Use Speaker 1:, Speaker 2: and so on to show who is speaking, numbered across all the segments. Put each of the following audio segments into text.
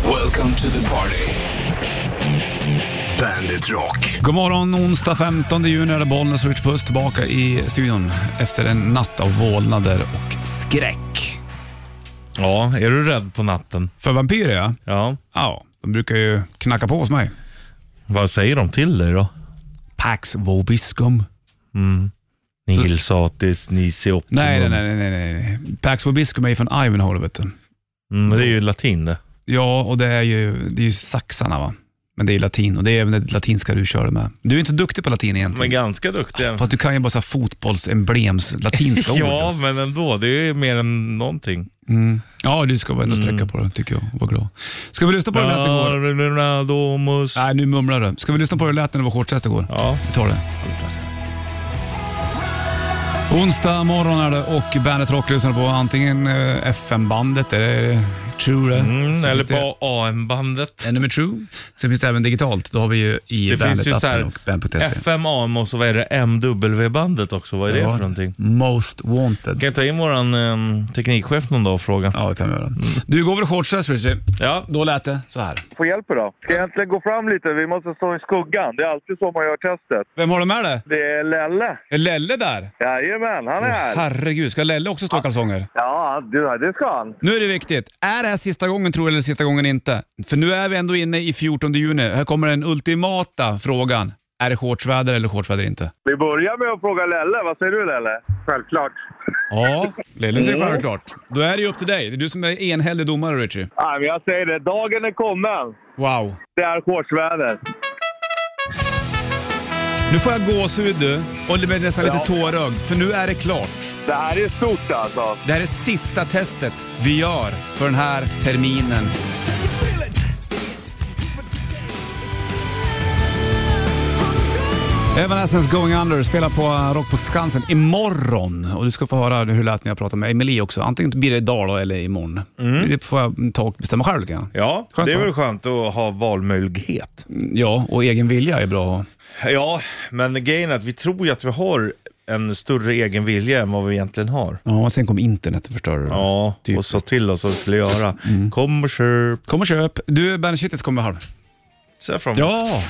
Speaker 1: Welcome to the party. Bandit Rock.
Speaker 2: God morgon, onsdag 15 juni är det Bollnäs Rich Puss tillbaka i studion efter en natt av vålnader och skräck.
Speaker 3: Ja, är du rädd på natten?
Speaker 2: För vampyrer ja.
Speaker 3: Ja.
Speaker 2: Ja, de brukar ju knacka på hos mig.
Speaker 3: Vad säger de till dig då? Mm.
Speaker 2: Pax Vobiscum.
Speaker 3: Ni Hilsatis, ni Seoptimum.
Speaker 2: Nej, nej, nej, nej, nej, nej. Pax Vobiscum är ju från Ivanhoe, vet du.
Speaker 3: Mm, det är ju latin det.
Speaker 2: Ja, och det är ju, det är ju saxarna va. Men det är latin och det är även det latinska du körde med. Du är inte duktig på latin
Speaker 3: Men
Speaker 2: egentligen.
Speaker 3: ganska duktiga.
Speaker 2: Fast du kan ju bara så här fotbollsemblems latinska
Speaker 3: ja,
Speaker 2: ord.
Speaker 3: men ändå. Det är ju mer än någonting.
Speaker 2: Mm. Ja, du ska väl ändå sträcka på det tycker jag. Var glad. Ska vi lyssna på hur det lät igår?
Speaker 3: Ronaldo, mus.
Speaker 2: Nej, nu mumlar du. Ska vi lyssna på hur det lät när det var shortstest igår?
Speaker 3: Ja.
Speaker 2: Vi tar det alldeles strax. Onsdag morgon är det och Bandet Rock lyssnar på antingen eh, FM-bandet eller True. det.
Speaker 3: Mm,
Speaker 2: Så
Speaker 3: eller
Speaker 2: finns det-
Speaker 3: på AM-bandet.
Speaker 2: Ännu med True. Sen finns det även digitalt. Då har vi ju i
Speaker 3: Det finns ju så
Speaker 2: Bandet-appen
Speaker 3: här
Speaker 2: och Band.se.
Speaker 3: FM, AM och så vad är det MW-bandet också. Vad är det för någonting?
Speaker 2: Most wanted.
Speaker 3: Kan jag ta in våran eh, teknikchef någon dag och fråga?
Speaker 2: Ja, det kan vi
Speaker 3: Mm.
Speaker 2: göra. Du, går väl shortstest Richie?
Speaker 3: Ja.
Speaker 2: Då lät det så här.
Speaker 4: Få hjälp idag. Ska jag egentligen gå fram lite? Vi måste stå i skuggan. Det är alltid så man gör testet.
Speaker 2: Vem har du med dig?
Speaker 4: Det är Lelle.
Speaker 2: Är Lelle där?
Speaker 4: Jajamän, han är här.
Speaker 2: Herregud, ska Lelle också stå i kalsonger?
Speaker 4: Ja, du, det ska han.
Speaker 2: Nu är det viktigt. Är det här sista gången tror du eller sista gången inte? För nu är vi ändå inne i 14 juni. Här kommer den ultimata frågan. Är det shortsväder eller shortsväder inte?
Speaker 4: Vi börjar med att fråga Lelle. Vad säger du Lelle? Självklart.
Speaker 2: Ja, Mm. Lille säger självklart. Då är det ju upp till dig. Det är du som är enhällig domare, Richie.
Speaker 4: Nej, men jag säger det. Dagen är kommen.
Speaker 2: Wow.
Speaker 4: Det är shortsväder.
Speaker 2: Nu får jag gåshud du och det blir nästan lite
Speaker 4: Ja.
Speaker 2: tårögd, för nu är det klart.
Speaker 4: Det här är stort alltså.
Speaker 2: Det här är sista testet vi gör för den här terminen. Evanescence Going Under spelar på Rock på Skansen imorgon. Och du ska få höra hur det lät när jag pratade med Emily också. Antingen blir det idag då, eller imorgon. Det får jag ta och bestämma själv lite grann.
Speaker 3: Mm. Ja,
Speaker 2: Skönt,
Speaker 3: det är
Speaker 2: va?
Speaker 3: väl skönt att ha valmöjlighet.
Speaker 2: Ja, och egen vilja är bra.
Speaker 3: Ja, men grejen är att vi tror ju att vi har en större egen vilja än vad vi egentligen har.
Speaker 2: Ja, sen kom internet och förstörde det.
Speaker 3: Ja, och
Speaker 2: Typiskt.
Speaker 3: sa till oss vad vi skulle göra.
Speaker 2: Mm.
Speaker 3: Kom och köp.
Speaker 2: Kom och köp. Du, Bandit Shitlist kommer halv.
Speaker 3: Så här fram.
Speaker 2: Ja!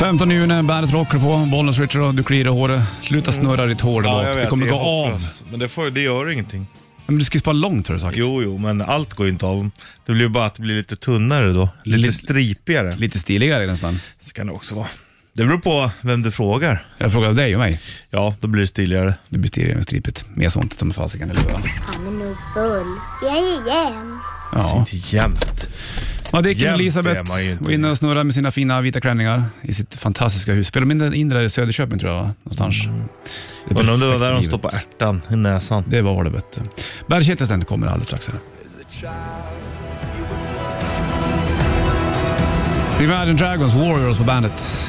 Speaker 2: Femton juni, Bandet Rocker på, Bollnäs Richard och du kliar i håret. Sluta snurra ditt hår där
Speaker 3: Mm.
Speaker 2: bak.
Speaker 3: Ja, jag
Speaker 2: det
Speaker 3: vet,
Speaker 2: kommer
Speaker 3: är
Speaker 2: gå av.
Speaker 3: hopplöst. Men det, får, det gör ingenting.
Speaker 2: Men du ska ju spara långt har du sagt.
Speaker 3: Jo, jo, men allt går ju inte av. Det blir ju bara att det blir lite tunnare då. Lite
Speaker 2: Lite-
Speaker 3: stripigare.
Speaker 2: Lite stiligare nästan.
Speaker 3: Ska det också vara. Det beror på vem du frågar.
Speaker 2: Jag frågade dig och mig.
Speaker 3: Ja, då blir det stiligare.
Speaker 2: Du blir stiligare med stripet. Mer sånt ta mig fasiken, eller hur?
Speaker 5: Han är nog full. Jajamän.
Speaker 2: Ja.
Speaker 3: Inte jämt.
Speaker 2: ja, Dicken och
Speaker 3: Jämt
Speaker 2: Elisabeth
Speaker 3: är man ju inte.
Speaker 2: var inne och snurrade med sina fina vita klänningar i sitt fantastiska hus. Spelade de in- in det där i Söderköping tror jag, va? någonstans. Det är
Speaker 3: Undrar om det var
Speaker 2: perfekt
Speaker 3: där de
Speaker 2: livet.
Speaker 3: stoppade ärtan i näsan.
Speaker 2: Det var det vet du. Bergkittelsen kommer alldeles strax här. Imagine Dragons Warriors på bandet.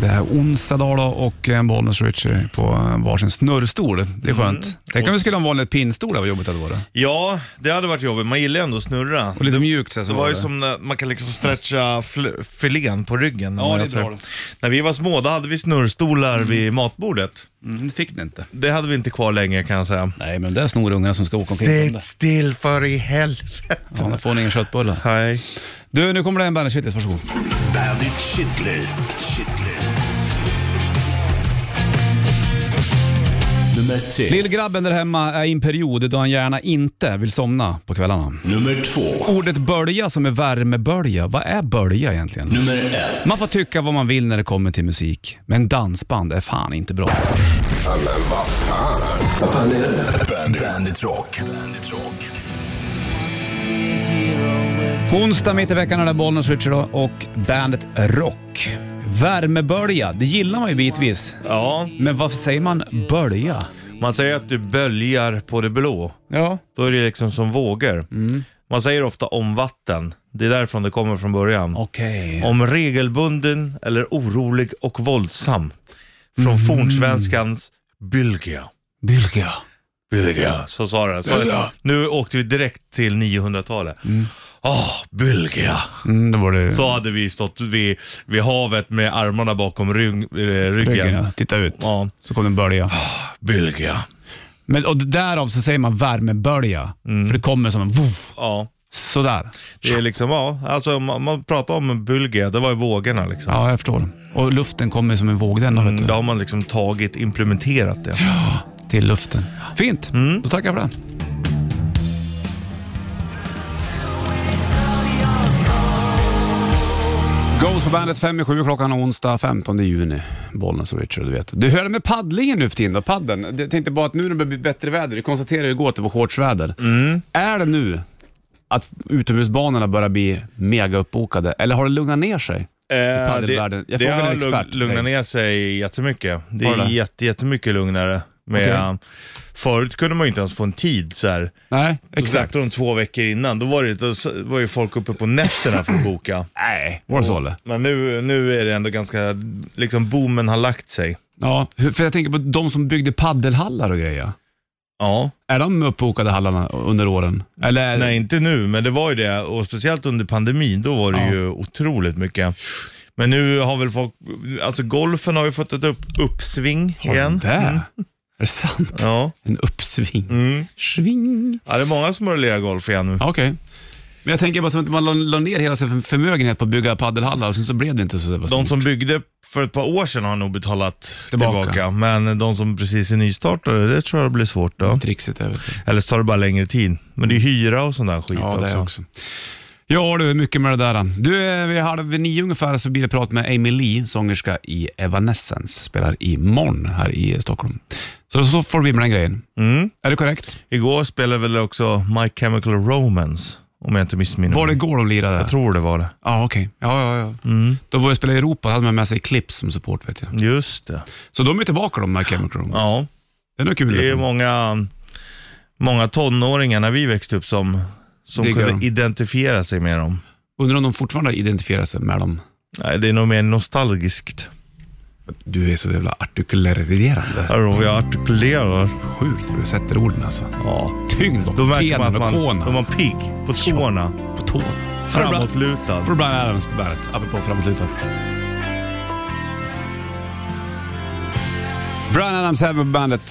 Speaker 2: Det är onsdag dag då och en Bollnäs Richie på eh, varsin snurrstol. Det är skönt.
Speaker 3: Mm.
Speaker 2: Tänk om vi skulle ha en vanlig pinnstol, där, vad jobbigt det hade varit.
Speaker 3: Ja, det hade varit jobbigt. Man gillar ju ändå att snurra.
Speaker 2: Och lite mjukt så här
Speaker 3: Det
Speaker 2: så
Speaker 3: var
Speaker 2: var
Speaker 3: ju
Speaker 2: det.
Speaker 3: som när man kan liksom stretcha fl- filén på ryggen.
Speaker 2: Ja, det är
Speaker 3: Jag tror-
Speaker 2: bra.
Speaker 3: När vi var små, då hade vi snurrstolar vid matbordet.
Speaker 2: Mm, det fick ni inte.
Speaker 3: Det hade vi inte kvar länge kan jag säga.
Speaker 2: Nej, men det är snorungarna som ska åka omkring. med det.
Speaker 3: Sitt still för i helvete.
Speaker 2: Ja, då får ni ingen köttbulle.
Speaker 3: Nej.
Speaker 2: Du, nu kommer det en Bandit Shitlist, varsågod.
Speaker 1: Bandit Shitlist. Shitlist. Nummer tre.
Speaker 2: Lillgrabben där hemma är i en period då han gärna inte vill somna på kvällarna.
Speaker 1: Nummer två.
Speaker 2: Ordet bölja som är värmebölja, vad är bölja egentligen?
Speaker 1: Nummer ett.
Speaker 2: Man får tycka vad man vill när det kommer till musik, men dansband är fan inte bra.
Speaker 1: Vad fan är det? Bandit, Bandit Rock. Bandit Rock.
Speaker 2: Onsdag mitt i veckan är det Bollnäs Richard och bandet Rock. Värmebölja, det gillar man ju bitvis,
Speaker 3: Ja,
Speaker 2: men varför säger man bölja?
Speaker 3: man säger att du böljar på det blå.
Speaker 2: Ja.
Speaker 3: Då är det liksom som vågor.
Speaker 2: Mm.
Speaker 3: Man säger ofta om vatten. Det är därifrån det kommer från början.
Speaker 2: Okej.
Speaker 3: Om regelbunden eller orolig och våldsam. Från fornsvenskans Bylgia.
Speaker 2: Bylgia.
Speaker 3: Bylgia. Så sa den. Så,
Speaker 1: Bylgia.
Speaker 3: nu åkte vi direkt till 900-talet. Ah, Bylgia.
Speaker 2: Mm, då var det
Speaker 3: Så hade vi stått vid, vid havet med armarna bakom rygg, eh, ryggen.
Speaker 2: ryggen, ja. Titta ut.
Speaker 3: Ja,
Speaker 2: Så kom det en bölja.
Speaker 3: Bylgia.
Speaker 2: Men, och därav så säger man värmebölja, för det kommer som en voff,
Speaker 3: Ja.
Speaker 2: sådär.
Speaker 3: Det är liksom, ja, alltså om man pratar om Bulgien, det var ju vågorna liksom.
Speaker 2: Ja, jag förstår. Och luften kommer som en våg den då, vet
Speaker 3: Mm,
Speaker 2: du.
Speaker 3: Då har man liksom tagit, implementerat det.
Speaker 2: Till luften. Fint, då tackar jag för det. Ghost på bandet 5 i 7 klockan onsdag 15 juni. Bollnäs och Richard, du vet. Du hörde med paddlingen nu för tiden då, paddeln. Jag tänkte bara att nu när det börjar bli bättre väder, du konstaterade ju igår att det var shortsväder. Är det nu att utomhusbanorna börjar bli mega uppbokade eller har det lugnat ner sig?
Speaker 3: Eh,
Speaker 2: Paddelvärlden. Jag
Speaker 3: det
Speaker 2: frågade
Speaker 3: har
Speaker 2: en expert.
Speaker 3: lugn- lugnat ner sig jättemycket. Det
Speaker 2: Har det
Speaker 3: är
Speaker 2: det?
Speaker 3: jätte, jättemycket lugnare. Med, um,
Speaker 2: Okej.
Speaker 3: Förut kunde man ju inte ens få en tid så här.
Speaker 2: Nej,
Speaker 3: Exakt. Så snackade de två veckor innan, då var, det, då s- var ju folk uppe på nätterna för att boka.
Speaker 2: Nej, var det så eller?
Speaker 3: Men nu, nu är det ändå ganska, liksom boomen har lagt sig.
Speaker 2: Ja, hur- för jag tänker på de som byggde paddelhallar och grejer.
Speaker 3: Ja,
Speaker 2: Är de uppbokade hallarna under åren? Eller?
Speaker 3: nej inte nu, men det var ju det. Och speciellt under pandemin, då var det
Speaker 2: Ja.
Speaker 3: ju otroligt mycket. Men nu har väl folk, alltså golfen har ju fått ett upp, uppsving
Speaker 2: Har de
Speaker 3: igen.
Speaker 2: Det? Är det sant?
Speaker 3: Ja.
Speaker 2: En uppsving.
Speaker 3: Mm.
Speaker 2: Sving.
Speaker 3: ja, det är många som har lirat golf igen nu.
Speaker 2: Ja, Okej. Men jag tänker bara som att man la- la ner hela sin förmögenhet på att bygga paddelhallar och sen så blev det inte så. Det var
Speaker 3: De
Speaker 2: så-
Speaker 3: som byggde för ett par år sedan har nog betalat
Speaker 2: Tillbaka.
Speaker 3: tillbaka. Men de som precis är nystartade, det tror jag blir svårt då.
Speaker 2: Trixigt jag vet.
Speaker 3: Eller så tar det bara längre tid. Men det är hyra och sån där skit
Speaker 2: Ja, det
Speaker 3: också.
Speaker 2: är också. Ja du, mycket med det där. Du, eh, vid halv nio ungefär så blir det prat med Amy Lee, sångerska i Evanescence. Spelar imorgon här i Stockholm. Så, så får det bli med den grejen.
Speaker 3: Mm.
Speaker 2: Är det korrekt?
Speaker 3: Igår spelade väl också My Chemical Romance, om jag inte missminner
Speaker 2: Var det
Speaker 3: mig.
Speaker 2: igår de lirade?
Speaker 3: Mm. Jag tror det var det.
Speaker 2: Ja, okej. Ja, ja, ja.
Speaker 3: Mm.
Speaker 2: Då var jag spelade i Europa, hade man med sig Clips som support vet jag.
Speaker 3: Just det.
Speaker 2: Så de är tillbaka de, My Chemical Romance.
Speaker 3: Ja,
Speaker 2: Det är nog kul.
Speaker 3: det är många, många tonåringar när vi växte upp som, som
Speaker 2: Diggar
Speaker 3: kunde
Speaker 2: dem.
Speaker 3: identifiera sig med dem.
Speaker 2: Undrar om de fortfarande identifierar sig med dem.
Speaker 3: Nej, det är nog mer nostalgiskt.
Speaker 2: Du är så jävla artikulerande.
Speaker 3: Här har vi artikulerar.
Speaker 2: Sjukt vad du sätter orden alltså.
Speaker 3: Ja.
Speaker 2: Tyngd
Speaker 3: Då
Speaker 2: och
Speaker 3: märker man
Speaker 2: tenen och
Speaker 3: att man,
Speaker 2: tårna.
Speaker 3: då är man pigg på tårna.
Speaker 2: På tån.
Speaker 3: Framåtlutad.
Speaker 2: Får du Brian Adams på bandet, apropå framåtlutat. Brian Adams här på bandet.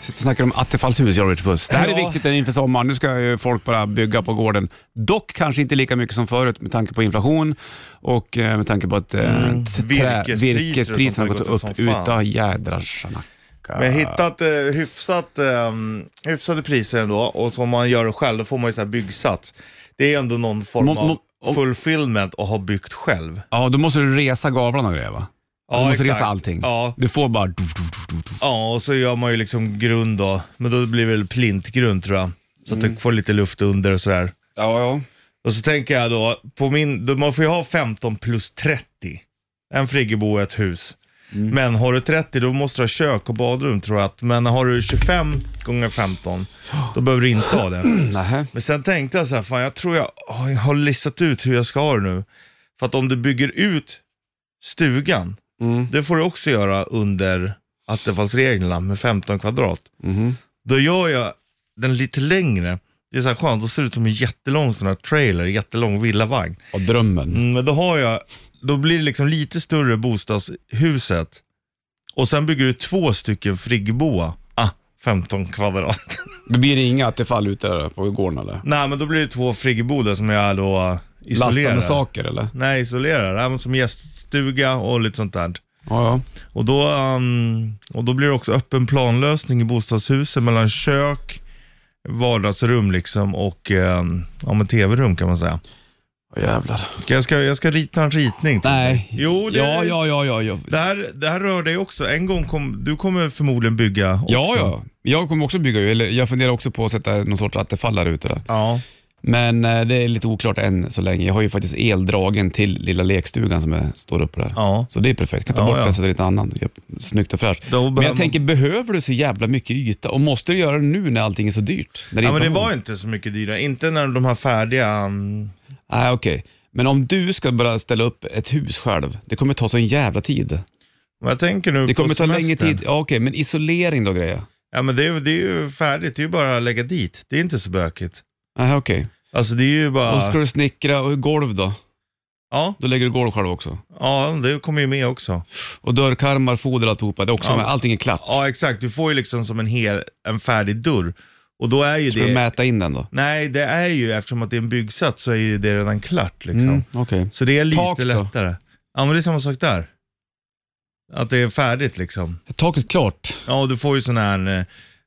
Speaker 2: Sitter och snackar om attefallshus, jag och Richard Puss. Det här är
Speaker 3: Ja.
Speaker 2: viktigt inför sommaren. Nu ska ju folk bara bygga på gården. Dock kanske inte lika mycket som förut med tanke på inflation och eh, med tanke på att eh,
Speaker 3: Mm,
Speaker 2: trä-
Speaker 3: virkespriser och
Speaker 2: virkespriserna har
Speaker 3: sånt
Speaker 2: gått
Speaker 3: har gått
Speaker 2: upp.
Speaker 3: upp som fan.
Speaker 2: Utan jädrar schanacka.
Speaker 3: Men jag har hittat eh, hyfsat, eh, hyfsade priser ändå och som man gör det själv då får man ju sån här byggsats. Det är ändå någon form
Speaker 2: Må- må- om-
Speaker 3: av fulfillment att ha byggt själv.
Speaker 2: Ja, då måste du resa gavlarna och grejer va?
Speaker 3: Ja,
Speaker 2: du måste
Speaker 3: exakt.
Speaker 2: resa allting.
Speaker 3: Ja.
Speaker 2: Du får bara...
Speaker 3: Ja, och så gör man ju liksom grund då, men då blir det väl plintgrund tror jag. Så att du får lite luft under och sådär.
Speaker 2: Mm. Ja, ja.
Speaker 3: Och så tänker jag då, på min, då man får ju ha 15 plus 30. En friggebo och ett hus.
Speaker 2: Mm.
Speaker 3: Men har du 30 då måste du ha kök och badrum tror jag. att- Men har du 25 gånger 15 då behöver du inte ha det.
Speaker 2: Nähä.
Speaker 3: Men sen tänkte jag så här, fan jag tror jag jag har listat ut hur jag ska ha det nu. För att om du bygger ut stugan, det får du också göra under attefallsreglerna med 15 kvadrat. Då gör jag den lite längre. Det är så här skönt, då ser det ut som en jättelång sån här trailer, jättelång villavagn.
Speaker 2: Och drömmen.
Speaker 3: Mm, Men då har jag, då blir det liksom lite större bostadshuset. Och sen bygger du två stycken friggeboa. Ah, 15 kvadrat.
Speaker 2: Då blir det inga attefall ute där på gården eller?
Speaker 3: Nej, men då blir det två friggeboder som jag då
Speaker 2: Lasta
Speaker 3: isolerar.
Speaker 2: med saker eller?
Speaker 3: Nej, isolerar. Även som gäststuga och lite sånt där.
Speaker 2: Ja, ja.
Speaker 3: Och då, ehm, och då blir det också öppen planlösning i bostadshuset mellan kök, vardagsrum liksom och um, ja, men tv-rum kan man säga.
Speaker 2: Åh, jävlar.
Speaker 3: Jag ska, jag ska rita en ritning. till dig.
Speaker 2: Nej.
Speaker 3: Jo, det-
Speaker 2: Ja, ja, ja, ja. Ja,
Speaker 3: Det här, det här rör dig också. En gång kom, du kommer förmodligen bygga också.
Speaker 2: ja. ja. Jag kommer också bygga, ju, eller jag funderar också på att sätta någon sorts attefall där ute. Där.
Speaker 3: Ja.
Speaker 2: Men eh, det är lite oklart än så länge. Jag har ju faktiskt eldragen till lilla lekstugan som är, står uppe där.
Speaker 3: Ja.
Speaker 2: Så det är perfekt. Kan ta
Speaker 3: Ja,
Speaker 2: bort
Speaker 3: ja.
Speaker 2: den så det är lite annan. Ja, Snyggt och fräscht.
Speaker 3: Då
Speaker 2: Men
Speaker 3: behöver
Speaker 2: jag
Speaker 3: man-
Speaker 2: tänker, behöver du så jävla mycket yta? Och måste du göra det nu när allting är så dyrt? När
Speaker 3: ja, men
Speaker 2: inte
Speaker 3: det
Speaker 2: har-
Speaker 3: var inte så mycket dyrare. Inte när de här färdiga... mm,
Speaker 2: Nej, okej. Men om du ska börja ställa upp ett hus själv, det kommer ta sån jävla tid.
Speaker 3: Vad jag tänker nu
Speaker 2: Det
Speaker 3: på
Speaker 2: kommer ta längre
Speaker 3: semestern.
Speaker 2: tid. Ja, okej, men isolering då grejer?
Speaker 3: Ja, men det är, det är ju färdigt. Det är ju bara att lägga dit. Det är inte så bökigt.
Speaker 2: Nej, okej.
Speaker 3: Alltså det är ju bara...
Speaker 2: Och så ska du snickra och golv då?
Speaker 3: Ja,
Speaker 2: Då lägger du golv själv också.
Speaker 3: ja, det kommer ju med också.
Speaker 2: Och dörrkarmar, foder och alltihopa. Det är också med. Allting är klart.
Speaker 3: Ja, exakt. Du får ju liksom som en, hel, en färdig dörr. Och då är ju
Speaker 2: Ska du
Speaker 3: det...
Speaker 2: mäta in den då?
Speaker 3: Nej, det är ju, eftersom att det är en byggsats så är ju det redan klart liksom.
Speaker 2: Mm, Okej.
Speaker 3: Så det är lite
Speaker 2: Tak då?
Speaker 3: lättare. Ja, men det är samma sak där. Att det är färdigt liksom.
Speaker 2: Är Taket klart.
Speaker 3: Ja, och du får ju sån här, eh,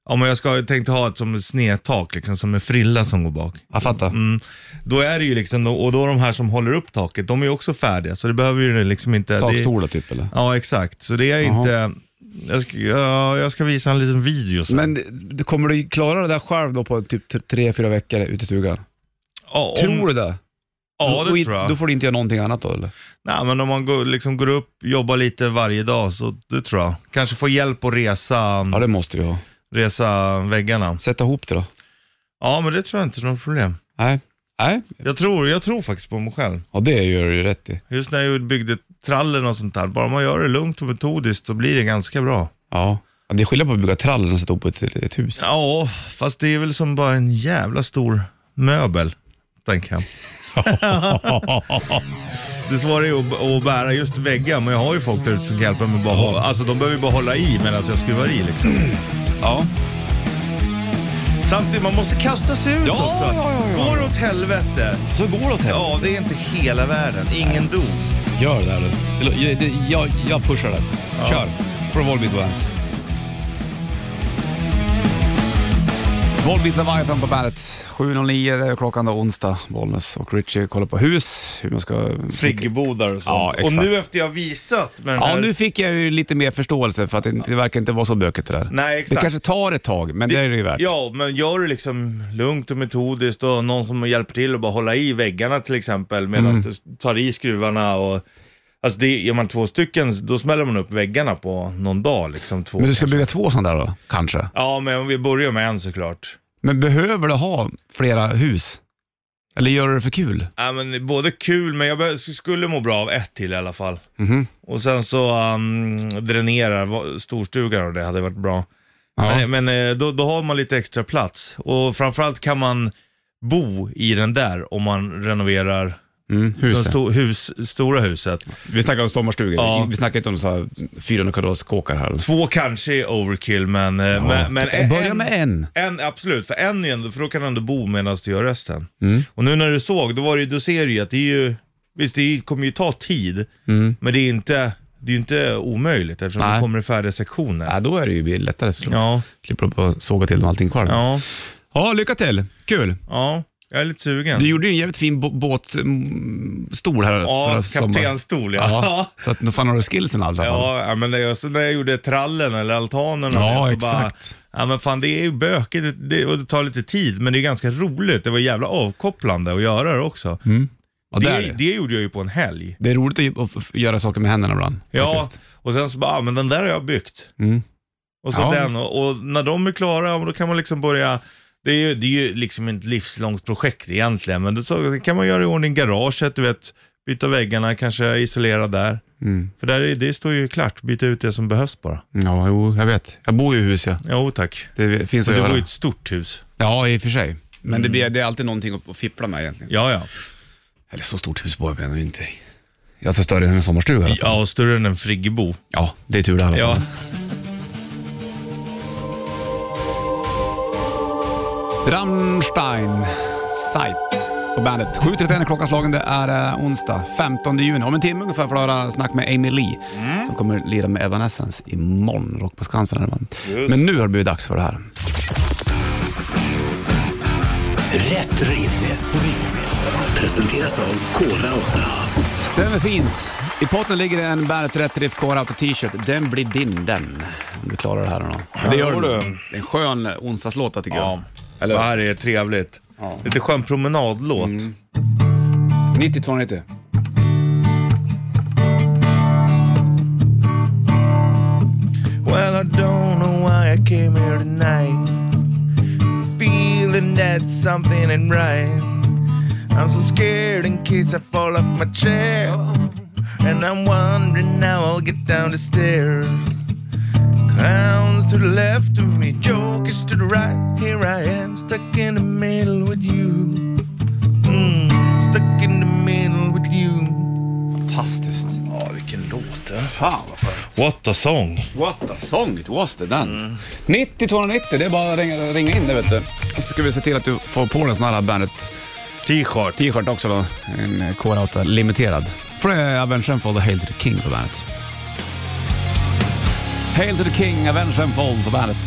Speaker 3: ja men jag ska, jag tänkte ha ett som ett snedtak liksom, som en frilla som går bak.
Speaker 2: Jag fattar.
Speaker 3: Mm. Då är det ju liksom, och då de här som håller upp taket, de är ju också färdiga. Så det behöver ju liksom inte... Det,
Speaker 2: Takstolar typ eller?
Speaker 3: ja, exakt. Så det är
Speaker 2: Jaha.
Speaker 3: inte, jag ska, ja, jag ska visa en liten video sen.
Speaker 6: Men du- kommer du klara det där själv då på typ t- tre, fyra veckor ute i stugan?
Speaker 3: ja,
Speaker 6: Tror du det?
Speaker 3: Ja,
Speaker 6: Och
Speaker 3: det
Speaker 6: i-
Speaker 3: tror jag. Mm.
Speaker 6: Då får du inte göra någonting annat då eller?
Speaker 3: Nej, men om man går, liksom går upp, jobbar lite varje dag, så det tror jag. Kanske få hjälp att resa,
Speaker 2: Ja, det måste vi ha.
Speaker 3: resa väggarna.
Speaker 2: Sätta ihop det då.
Speaker 3: Ja, men det tror jag inte är något problem.
Speaker 2: Nej. Nej,
Speaker 3: Jag tror, jag tror faktiskt på mig själv.
Speaker 2: ja, det gör du ju rätt i.
Speaker 3: Just när jag byggde trallen och sånt där, bara man gör det lugnt och metodiskt så blir det ganska bra.
Speaker 2: Ja. Ja, Det är skillnad på att bygga trallen och sätta ihop ett, ett hus.
Speaker 3: Ja, fast det är väl som bara en jävla stor möbel, tänker jag. det svåra är ju att, att bära just väggar, men jag har ju folk där ute som kan hjälpa mig bara hålla, alltså de behöver ju bara hålla i medan jag skruvar i liksom.
Speaker 2: Ja.
Speaker 3: Samtidigt, man måste kasta sig ut
Speaker 2: Ja,
Speaker 3: också.
Speaker 2: ja, ja, ja.
Speaker 3: Går det åt helvete,
Speaker 2: Så går det åt helvete.
Speaker 3: ja det är inte hela världen. Ingen dog.
Speaker 2: Gör det här du. Eller, jag- det- Jag, jag pushar den. Kör. Från Volbeat Bandet. Volbeat Leviathan på bandet. 7.09 det är klockan då onsdag. Bollnäs och Richie kollar på hus, hur man ska...
Speaker 3: Friggebodar och sånt.
Speaker 2: Ja,
Speaker 3: och
Speaker 2: exakt.
Speaker 3: nu efter jag visat med den
Speaker 2: Ja,
Speaker 3: här...
Speaker 2: nu fick jag ju lite mer förståelse för att det, inte- det verkar inte vara så bökigt det där.
Speaker 3: Nej, exakt.
Speaker 2: Det kanske tar ett tag, men det, är det ju värt.
Speaker 3: Ja, men gör det liksom lugnt och metodiskt och någon som hjälper till och bara hålla i väggarna till exempel medan
Speaker 2: Mm.
Speaker 3: du tar i skruvarna och Alltså det, gör man två stycken, då smäller man upp väggarna på någon dag liksom. Två
Speaker 2: Men du ska
Speaker 3: kanske.
Speaker 2: bygga två sådana där då, kanske?
Speaker 3: Ja, men vi börjar med en såklart.
Speaker 2: Men behöver du ha flera hus? Eller gör du det för kul?
Speaker 3: Ja, men det är både kul, men jag be- skulle må bra av ett till i alla fall.
Speaker 2: Mhm.
Speaker 3: Och sen så um, dränera va- storstugan och det hade varit bra.
Speaker 2: Ja.
Speaker 3: Men, men eh, då, då har man lite extra plats och framförallt kan man bo i den där om man renoverar
Speaker 2: Mm,
Speaker 3: det
Speaker 2: huset.
Speaker 3: sto- hus, stora huset.
Speaker 2: Vi snackar om sommarstugor.
Speaker 3: Ja.
Speaker 2: Vi snackar inte om så här 400 kvadratskåkar här. Typ,
Speaker 3: Två kanske är overkill, men, eh, men, men en,
Speaker 2: Börja med en.
Speaker 3: en, absolut, för en är ändå, för då kan du ändå bo medan du gör resten.
Speaker 2: Mm.
Speaker 3: Och nu när du såg, då var det, ju- då ser du ju att det är ju, visst det är ju- kommer ju ta tid, men det är ju inte, det är ju inte omöjligt eftersom
Speaker 2: Mm. Nej.
Speaker 3: det kommer i färdiga sektioner.
Speaker 2: Ja, då är det ju lättare. Så
Speaker 3: Ja,
Speaker 2: Slipper du bara såga till dem allting själv. Ja.
Speaker 3: ja,
Speaker 2: lycka till. Kul.
Speaker 3: ja, jag är lite sugen.
Speaker 2: Du gjorde ju en jävligt fin bo- båtstol här
Speaker 3: ja,
Speaker 2: sommaren.
Speaker 3: kaptenstol ja.
Speaker 2: Ja,
Speaker 3: ja.
Speaker 2: så att, då fan har du skillsen allt i alla fall.
Speaker 3: Ja, ja, men när jag, så när jag gjorde trallen eller altanen och
Speaker 2: Ja,
Speaker 3: det, så
Speaker 2: exakt.
Speaker 3: Bara, ja, men fan det är ju bökigt det, det, och det tar lite tid, men det är ganska roligt. Det var jävla avkopplande att göra det också.
Speaker 2: Ja,
Speaker 3: det,
Speaker 2: det, är
Speaker 3: det.
Speaker 2: det.
Speaker 3: gjorde jag ju på en helg.
Speaker 2: det är roligt att, ju- att f- göra saker med händerna ibland.
Speaker 3: Ja,
Speaker 2: faktiskt.
Speaker 3: och sen så bara, ah, men den där har jag byggt.
Speaker 2: Mm.
Speaker 3: Och så
Speaker 2: Ja,
Speaker 3: den,
Speaker 2: visst.
Speaker 3: och, och när de är klara, ja, men då kan man liksom börja det är, ju, det är ju liksom ett livslångt projekt egentligen, men det, så kan man göra i ordning garaget, du vet, byta väggarna, kanske isolera där.
Speaker 2: Mm.
Speaker 3: För där är, det står ju klart, byta ut det som behövs bara.
Speaker 2: Ja, jo, jag vet. Jag bor ju i hus, ja.
Speaker 3: Jo tack.
Speaker 2: Det finns
Speaker 3: Så
Speaker 2: att
Speaker 3: du bor Mm.
Speaker 2: göra.
Speaker 3: i ett stort hus.
Speaker 2: Ja, i och för sig. Men det, blir, det är alltid någonting att, att fippla med egentligen.
Speaker 3: Ja, ja.
Speaker 2: Eller så stort hus bor jag ändå inte i. Jag så större än en sommarstuga i alla fall.
Speaker 3: Ja, och större än en friggebo.
Speaker 2: Ja, det är tur det. i alla fall.
Speaker 3: Ja.
Speaker 2: Rammstein Sight på bandet. 7.31 är klockan slagen. Det är eh, onsdag 15 juni. Om en timme ungefär får du höra snack med Amy Lee som kommer lira med Evanescence imorgon. Rock på Skansen. är det, va? Men nu har det blivit dags för det här.
Speaker 1: Rätt riff. Presenteras av Kora 8.
Speaker 2: Stämmer fint. I potten ligger det en Bandet Rätt Riff Core Auto t-shirt. Den blir din den. Om du klarar det här eller nåt. Det gör
Speaker 3: Ja,
Speaker 2: du.
Speaker 3: det.
Speaker 2: Det är en skön onsdagslåt tycker
Speaker 3: ja.
Speaker 2: jag.
Speaker 3: Det
Speaker 2: Eller
Speaker 3: här är trevligt.
Speaker 2: Ja.
Speaker 3: Lite skön promenadlåt.
Speaker 2: 9290.
Speaker 3: Well, I don't know why I came here tonight. Feeling that something ain't right. I'm so scared in case I fall off my chair. And I'm wondering now I'll get down the stairs. Clowns to the left of me, jokers to the right. Here I am, stuck in the middle with you. Mm, stuck in the middle with you. What a song.
Speaker 2: What a song it was det den. 90 290, det är bara att ringa, ringa in det vet du. Så ska vi se till att du får på dig en sån här Bandet-t-shirt
Speaker 3: T-shirt.
Speaker 2: också då. En eh, K8 limiterad. För det är Avenged Sevenfold och Hail to the King på bandet. Hail to the King, Avenged Sevenfold på bandet.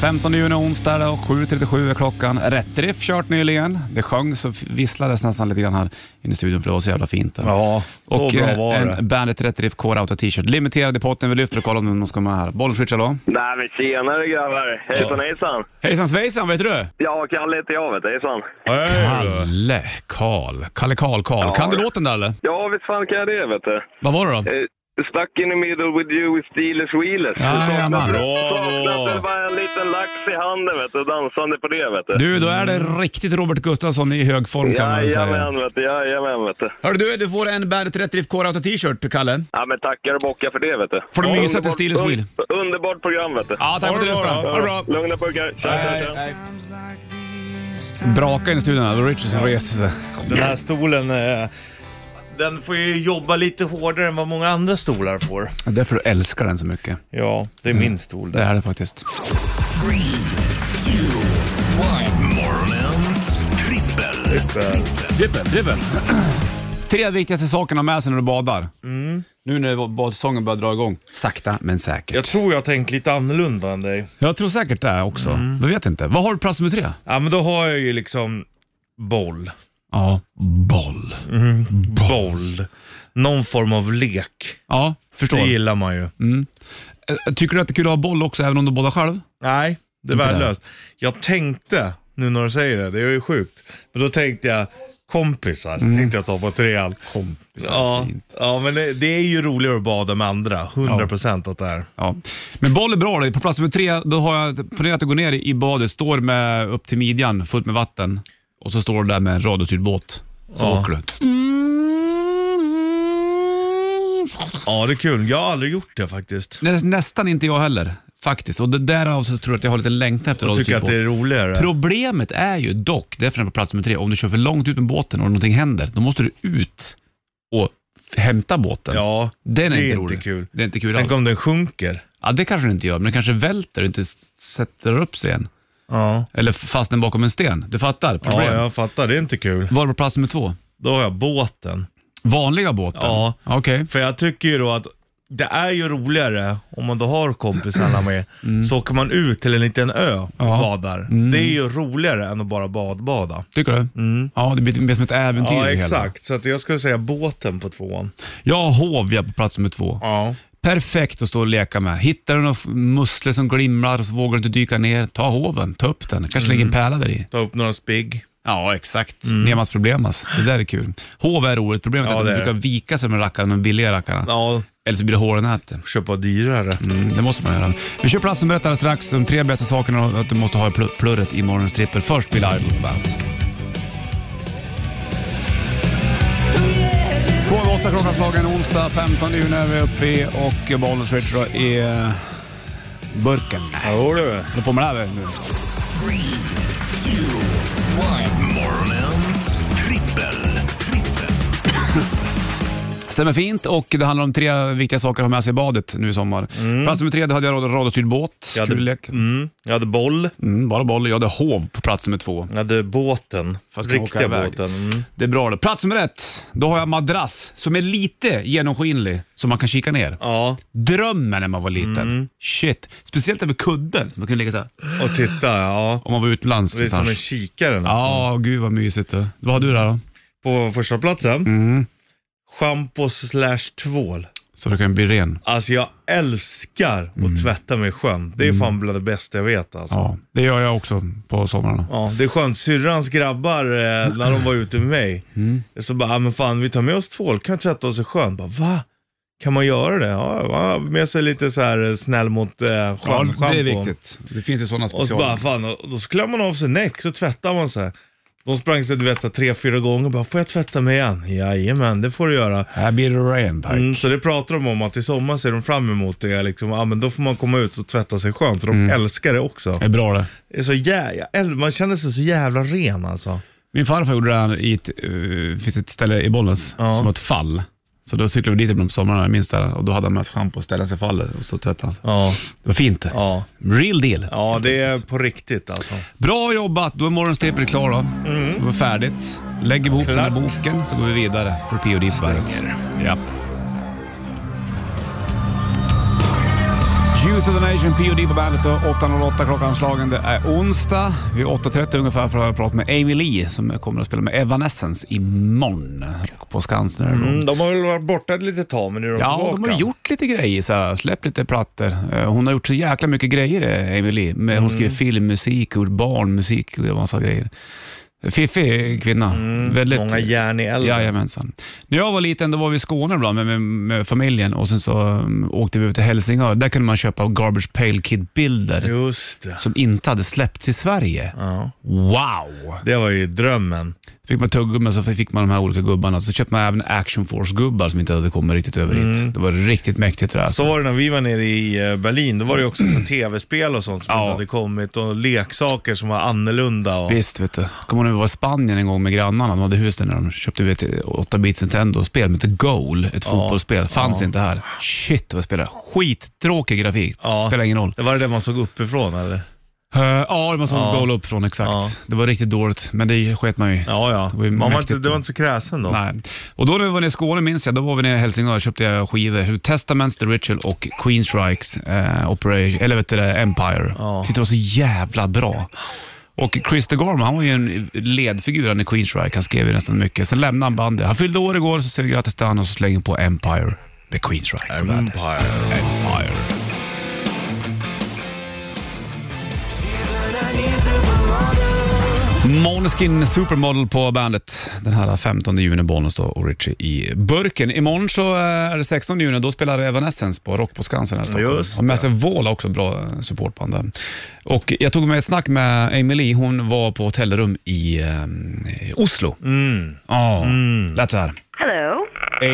Speaker 2: 15 juni onsdag då, 7.37 är klockan. Rätt riff kört nyligen. Det sjöngs och visslades nästan lite grann här inne i studion för det var så jävla fint. där.
Speaker 3: Ja, så
Speaker 2: Och
Speaker 3: bra
Speaker 2: eh,
Speaker 3: var det.
Speaker 2: en Bandet Rätt Riff Core Auto T-shirt. Limiterad i potten. Vi lyfter och kollar om någon ska med här. Bollenswitch, hallå?
Speaker 7: Nej men tjenare grabbar! Hejsan hejsan!
Speaker 2: Hejsan svejsan, vet du?
Speaker 7: Ja, Kalle heter jag vet du. Hejsan!
Speaker 3: Hej då.
Speaker 2: Kalle Karl. Kalle Karl Karl.
Speaker 7: Ja.
Speaker 2: Kan du låten där eller?
Speaker 7: Ja, visst fan kan jag det vet du.
Speaker 2: Vad var det då?
Speaker 7: Eh, Stuck in the middle with you with Steelers Wheelers.
Speaker 2: Jajamän.
Speaker 7: Saknas det
Speaker 3: Bravo!
Speaker 7: bara en liten lax i handen vet du, dansande på det vet du.
Speaker 2: Du, då är det riktigt Robert Gustafsson i hög form kan man väl säga.
Speaker 7: Jajamän vet du, jajamän vet du.
Speaker 2: Hörru du, du får en Bandet Rätt Riff Core Auto T-shirt, Kalle.
Speaker 7: Ja men tackar och bockar för det vet du.
Speaker 2: Får du
Speaker 7: Ja,
Speaker 2: mysa till
Speaker 7: underbart-
Speaker 2: Steelers
Speaker 7: un-
Speaker 2: Wheel.
Speaker 7: Underbart program vet du.
Speaker 2: Ja, tack för
Speaker 3: Ha
Speaker 2: att
Speaker 3: det
Speaker 2: du
Speaker 3: bra
Speaker 2: lyssnade.
Speaker 3: då.
Speaker 2: Ha det bra.
Speaker 7: Lugna pojkar. Tja, tja, tja.
Speaker 2: Braka in i studion. här. Richardson reser sig.
Speaker 3: Den här stolen, eh, den får ju jobba lite hårdare än vad många andra stolar får. Mm.
Speaker 2: Det är därför du älskar den så mycket.
Speaker 3: Ja, det är min stol.
Speaker 2: Det
Speaker 3: Det.
Speaker 2: är det faktiskt.
Speaker 1: Morgonens trippel.
Speaker 2: Dribbel, dribbel. Tre viktigaste saker att ha med sig när du badar. Nu när badsäsongen börjar dra igång. Sakta men säkert.
Speaker 3: Jag tror jag har tänkt lite annorlunda än dig.
Speaker 2: Jag tror säkert det också.
Speaker 3: Mm.
Speaker 2: Jag vet inte. Vad har du på plats nummer tre?
Speaker 3: Ja, men då har jag ju liksom boll.
Speaker 2: Ja, boll.
Speaker 3: Boll. Någon form av lek.
Speaker 2: Ja, förstår.
Speaker 3: Det gillar man ju.
Speaker 2: Eh, Tycker du att det är kul att ha boll också även om du badar själv?
Speaker 3: Nej, det är
Speaker 2: Inte
Speaker 3: värdelöst. Jag tänkte, nu när du säger det, det är ju sjukt. Men då tänkte jag kompisar,
Speaker 2: Mm.
Speaker 3: tänkte jag ta på trean. Kompisar, ja, ja, men det, det är ju roligare att bada med andra. 100% procent att det är.
Speaker 2: Ja. Men boll är bra. då. På plats nummer tre, då har jag ponerat att du går ner i badet, står med upp till midjan fullt med vatten och så står du där med en radiostyrd båt. Så
Speaker 3: Ja.
Speaker 2: åker du.
Speaker 3: Ja, det är kul. Jag har aldrig gjort det faktiskt.
Speaker 2: Nä, nästan inte jag heller, faktiskt. Och det därav så tror jag att jag har lite längtan efter
Speaker 3: Jag tycker
Speaker 2: radiostyrd
Speaker 3: att det är
Speaker 2: båt.
Speaker 3: roligare.
Speaker 2: Problemet är ju dock, det är för den på plats nummer tre, om du kör för långt ut med båten och någonting händer, då måste du ut och f- hämta båten.
Speaker 3: Ja,
Speaker 2: Den är,
Speaker 3: det
Speaker 2: inte,
Speaker 3: är
Speaker 2: rolig.
Speaker 3: inte kul.
Speaker 2: Det är inte kul
Speaker 3: Tänk
Speaker 2: alls.
Speaker 3: om den sjunker.
Speaker 2: Ja, det kanske den inte gör, men den kanske välter och inte s- sätter upp sig igen.
Speaker 3: Ja.
Speaker 2: Eller f- fastnar bakom en sten. Du fattar? Problem.
Speaker 3: ja, jag fattar. Det är inte kul.
Speaker 2: Var på plats nummer två?
Speaker 3: Då har jag båten.
Speaker 2: Vanliga båten?
Speaker 3: Ja.
Speaker 2: Okej.
Speaker 3: För jag tycker ju då att det är ju roligare om man då har kompisarna med. Så åker man ut till en liten ö och
Speaker 2: Mm. Ja. Mm.
Speaker 3: badar. Det är ju roligare än att bara badbada.
Speaker 2: Tycker du? Ja, det blir mer som ett äventyr.
Speaker 3: Mm. Ja,
Speaker 2: i det hela.
Speaker 3: exakt. Så att jag skulle säga båten på tvåan.
Speaker 2: Jag har Hovja på plats nummer två.
Speaker 3: Ja.
Speaker 2: Perfekt att stå och leka med. Hittar du någon f- musslor som glimrar så vågar du inte dyka ner, ta hoven, ta upp den. kanske
Speaker 3: Mm.
Speaker 2: ligger en pärla där i.
Speaker 3: Ta upp några spigg.
Speaker 2: Ja, exakt. Nemas problemas. Det där är kul. Hov är roligt. Problemet
Speaker 3: Mm. Ja,
Speaker 2: är att
Speaker 3: det
Speaker 2: de
Speaker 3: är det.
Speaker 2: brukar vika sig med rackarna, de billiga rackarna.
Speaker 3: Ja,
Speaker 2: Eller så blir det hårnäten.
Speaker 3: köpa dyrare.
Speaker 2: Mm, det måste man göra. Vi kör plats nummer ett alldeles strax. De tre bästa sakerna att du måste ha i pl- plurret i morgonens trippel. Först Bill Idol på bandet. Två över åtta klockan slagen onsdag 15 juni är vi uppe i och Bollnäs Retro i eh, burken.
Speaker 3: Jo du.
Speaker 2: Håller på med det här nu.
Speaker 1: Morgonens trippel.
Speaker 2: Stämmer fint och det handlar om tre viktiga saker att ha med sig i badet nu i sommar. Plats nummer tre, då hade jag rad- radiostyrd båt.
Speaker 3: Jag hade-
Speaker 2: Kul lek.
Speaker 3: Mm. Jag hade boll.
Speaker 2: Mm, bara boll. Jag hade hov på plats nummer två.
Speaker 3: Jag hade båten.
Speaker 2: För att kunna åka
Speaker 3: Riktiga
Speaker 2: iväg.
Speaker 3: båten. Mm.
Speaker 2: Det är bra det. Plats nummer ett, då har jag madrass som är lite genomskinlig så man kan kika ner.
Speaker 3: Ja,
Speaker 2: Drömmen när man var liten.
Speaker 3: Mm.
Speaker 2: Shit. Speciellt över kudden som man kunde ligga så här.
Speaker 3: och titta. Ja.
Speaker 2: om man var utomlands.
Speaker 3: Det är som en
Speaker 2: någonstans.
Speaker 3: kikare. nästan.
Speaker 2: Ja, gud vad mysigt. det. Vad har du där då?
Speaker 3: På första platsen. Shampoo slash tvål.
Speaker 2: Så du kan bli ren.
Speaker 3: Alltså jag älskar att tvätta mig i sjön. Det är fan bland det bästa jag vet alltså. Ja.
Speaker 2: Mm. Ja, det gör jag också på somrarna.
Speaker 3: det är skönt. Syrrans grabbar, eh, när de var ute med mig,
Speaker 2: Mm.
Speaker 3: så bara, ah, men fan vi tar med oss tvål, kan vi tvätta oss i sjön? Bara, Va? Kan man göra det? Ja, man har med sig lite så här eh, snäll mot eh, sjön,
Speaker 2: Ja, det
Speaker 3: shampoo.
Speaker 2: är viktigt. Det finns ju sådana
Speaker 3: Och så bara,
Speaker 2: specialer.
Speaker 3: fan, och då klär man av sig näck, så tvättar man sig. De sprang sig du vet, så här, tre, fyra gånger och bara, får jag tvätta mig igen? Jajamän, det får du göra.
Speaker 2: Här blir det ren, Pike.
Speaker 3: Mm, så det pratar de om att i sommar ser de fram emot det. Liksom, ah, men då får man komma ut och tvätta sig skönt. För de
Speaker 2: Mm.
Speaker 3: älskar det också.
Speaker 2: Det är bra det.
Speaker 3: Det är så jä- äl- man känner sig så jävla ren alltså.
Speaker 2: Min farfar gjorde det här i ett, eh, finns ett ställe i Bollnäs
Speaker 3: Ja.
Speaker 2: som var ett fall. Så då cyklade vi dit ibland på sommaren, jag minns det. Och då hade han med sig schampo och ställde sig faller och så tvättade han sig.
Speaker 3: Ja,
Speaker 2: Det var fint det.
Speaker 3: ja.
Speaker 2: Real deal.
Speaker 3: ja det är på riktigt alltså.
Speaker 2: Bra jobbat, då är morgonstepet klar då. Det var färdigt. Lägger vi ihop den här boken så går vi vidare för P.O. Dippberget. Ja. Youth of the Nation, P.O.D. på bandet och 8.08 klockan slagen. Det är onsdag. Vi är 8.30 ungefär för att ha pratat med Amy Lee som kommer att spela med Evanescence imorgon på Skansen. Mm.
Speaker 3: Mm, de har väl varit borta ett litet tag, men nu är de
Speaker 2: Ja,
Speaker 3: tillbaka.
Speaker 2: de har gjort lite grejer, så här, släppt lite plattor. Eh, Hon har gjort så jäkla mycket grejer, eh, Emily. Men Hon
Speaker 3: Mm.
Speaker 2: skriver filmmusik och barnmusik och en massa grejer. Fiffig kvinna. Väldigt...
Speaker 3: Mm, Många järn i elden.
Speaker 2: Jajamensan. När jag var liten då var vi i Skåne ibland med, med, med familjen och sen så um, åkte vi ut till Helsingör. Där kunde man köpa Garbage Pail Kid-bilder
Speaker 3: Just det.
Speaker 2: som inte hade släppts i Sverige.
Speaker 3: Ja.
Speaker 2: Wow!
Speaker 3: Det var ju drömmen.
Speaker 2: fick man tuggummi så fick man de här olika gubbarna. Så köpte man även Action Force-gubbar som inte hade kommit riktigt över
Speaker 3: Mm.
Speaker 2: hit. Det var riktigt mäktigt det där.
Speaker 3: Så var det när vi var nere i eh, Berlin. Då var det ju också så tv-spel och sånt som
Speaker 2: Ja.
Speaker 3: inte hade kommit och leksaker som var annorlunda. Och...
Speaker 2: Visst, vet du. Kommer du ihåg när vi var i Spanien en gång med grannarna? De hade hus där när de köpte vet, 8-bits Nintendo-spel med hette Goal, ett fotbollsspel. Fanns inte här. Shit vad jag spelade. Skittråkig grafik.
Speaker 3: Ja.
Speaker 2: Spelar ingen roll.
Speaker 3: Det var det där man såg uppifrån eller?
Speaker 2: Eh, ja, det var som Goal uppifrån exakt.
Speaker 3: Ja.
Speaker 2: Det var riktigt dåligt, men det sket man ju i.
Speaker 3: Ja, ja.
Speaker 2: Det var ju
Speaker 3: man var
Speaker 2: mäktigt
Speaker 3: inte, det
Speaker 2: då.
Speaker 3: var inte så kräsen då.
Speaker 2: Nej. Och då när vi var nere i Skåne minns jag, då var vi nere i Helsingör och köpte jag skivor. Testaments, The Ritual och Queen Strikes eh, Operation, eller vet du det, Empire. Tyckte det var så jävla bra. Och Chris DeGarmo, han var ju en ledfigur han i Queen Strike. Han skrev ju nästan mycket. Sen lämnade han bandet. Han fyllde år igår, så säger vi grattis till honom och så slänger vi på Empire med Queen Strike. på bandet.
Speaker 3: Empire.
Speaker 2: Empire. Måneskin Supermodel på bandet. Den här 15 juni, Bollnäs då och Richie i burken. Imorgon så eh, är det 16 juni då spelar Evanescence på Rock på Skansen här i Stockholm.
Speaker 3: Just
Speaker 2: Har med sig Våla också, bra eh, supportband där. Och jag tog med ett snack med Emily. Hon var på hotellrum i eh, Oslo. Ja, lät så här.
Speaker 8: Hello.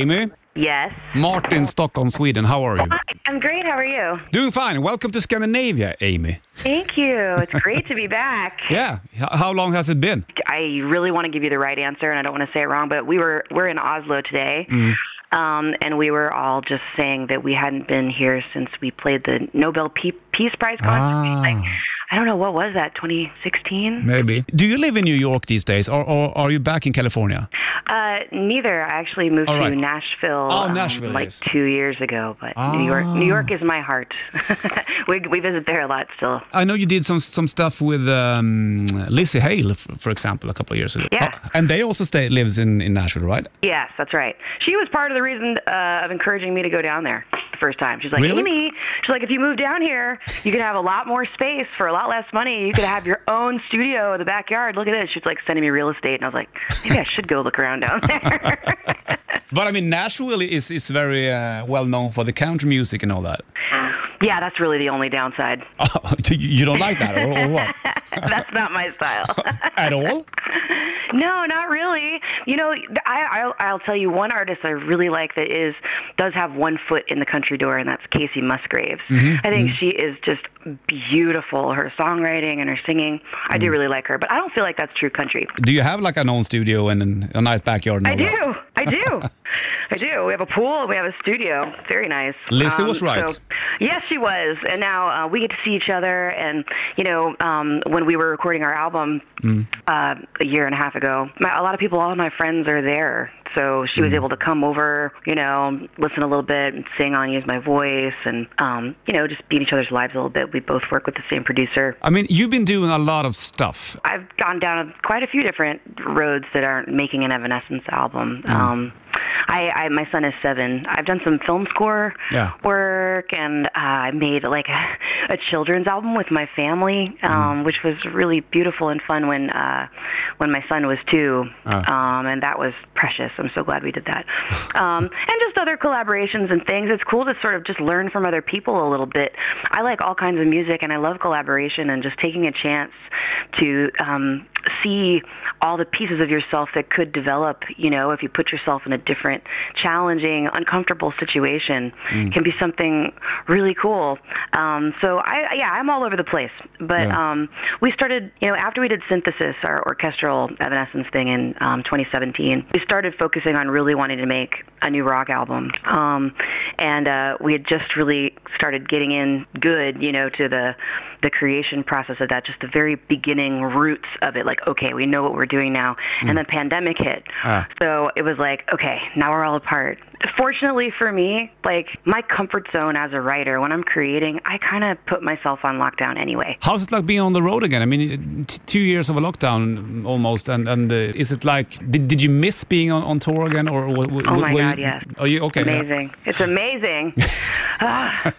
Speaker 2: Amy,
Speaker 8: Yes.
Speaker 2: Martin, Stockholm, Sweden. How are you?
Speaker 8: Hi, I'm great. How are you?
Speaker 2: Doing fine. Welcome to Scandinavia, Amy.
Speaker 8: Thank you. It's great to be back.
Speaker 2: Yeah. H- how long has it been?
Speaker 8: I really want to give you the right answer, and I don't want to say it wrong, but we were we're in Oslo today. Um, and we were all just saying that we hadn't been here since we played the Nobel Pe- Peace Prize concert.
Speaker 2: Ah.
Speaker 8: Like, I don't know what was that, 2016?
Speaker 2: Maybe. Do you live in New York these days, or, or are you back in California?
Speaker 8: Uh, neither. I actually moved
Speaker 2: All right.
Speaker 8: to Nashville, Ah.
Speaker 2: Oh,
Speaker 8: um,
Speaker 2: Nashville,
Speaker 8: like
Speaker 2: yes.
Speaker 8: two years ago. But New York, New York is my heart. we we visit there a lot still.
Speaker 2: I know you did some some stuff with um, Lizzie Hale, f- for example, a couple of years ago.
Speaker 8: Yeah.
Speaker 2: Oh, and they also stay lives in, in Nashville, right?
Speaker 8: Yes, that's right. She was part of the reason uh, of encouraging me to go down there the first time. She's like,
Speaker 2: Really?
Speaker 8: Amy, she's like, if you move down here, you could have a lot more space for a lot less money. You could have your own studio in the backyard. Look at this. She's like sending me real estate, and I was like, maybe I should go look around down there.
Speaker 2: But I mean, Nashville is is very uh, well known for the country music and all that.
Speaker 8: yeah, that's really the only downside.
Speaker 2: you, you don't like that, or, or what?
Speaker 8: that's not my style.
Speaker 2: At all?
Speaker 8: No, not really. You know, I, I'll, I'll tell you one artist I really like that is does have one foot in the country door, and that's Casey Musgraves. I think she is just beautiful. Her songwriting and her singing, I do really like her, but I don't feel like that's true country.
Speaker 2: Do you have like an own studio and an, a nice backyard? And
Speaker 8: I
Speaker 2: all
Speaker 8: do,
Speaker 2: That?
Speaker 8: I do, I do. We have a pool, we have a studio. It's Very nice. Um,
Speaker 2: Lisa was right.
Speaker 8: yes, she was, and now uh, we get to see each other. And you know, um, when we were recording our album
Speaker 2: Mm.
Speaker 8: uh, a year and a half ago, my, a lot of people, all of my friends are there. So she
Speaker 2: Mm.
Speaker 8: was able to come over, you know, listen a little bit, and sing on, use my voice, and um, you know, just be in each other's lives a little bit. We both work with the same producer.
Speaker 2: I mean, you've been doing a lot of stuff.
Speaker 8: I've gone down quite a few different roads that aren't making an Evanescence album. Um, I, I my son is seven. I've done some film score
Speaker 2: Yeah.
Speaker 8: work, and uh, I made like a, a children's album with my family, um, which was really beautiful and fun when uh, when my son was two, um, and that was precious. I'm so glad we did that, um, and just other collaborations and things. It's cool to sort of just learn from other people a little bit. I like all kinds of music, and I love collaboration and just taking a chance to um, see all the pieces of yourself that could develop, you know, if you put yourself in a different, challenging, uncomfortable situation, can be something really cool. Um, so I, yeah, I'm all over the place. But um, we started, you know, after we did synthesis, our orchestral evanescence thing in um, 2017, we started focusing on really wanting to make a new rock album. Um, and uh, we had just really started getting in good, you know, to the the creation process of that, just the very beginning roots of it. Like, okay, we know what we're doing now. And the pandemic hit.
Speaker 2: Ah.
Speaker 8: So it was like, okay, now we're all apart. Fortunately for me, like my comfort zone as a writer, when I'm creating, I kind of put myself on lockdown anyway.
Speaker 2: How's it like being on the road again? I mean, uh, t- two years of a lockdown almost, and and uh, is it like did, did you miss being on, on tour again or? What,
Speaker 8: Oh my God, yes.
Speaker 2: Are you okay? yeah.
Speaker 8: Amazing. It's amazing. Ah,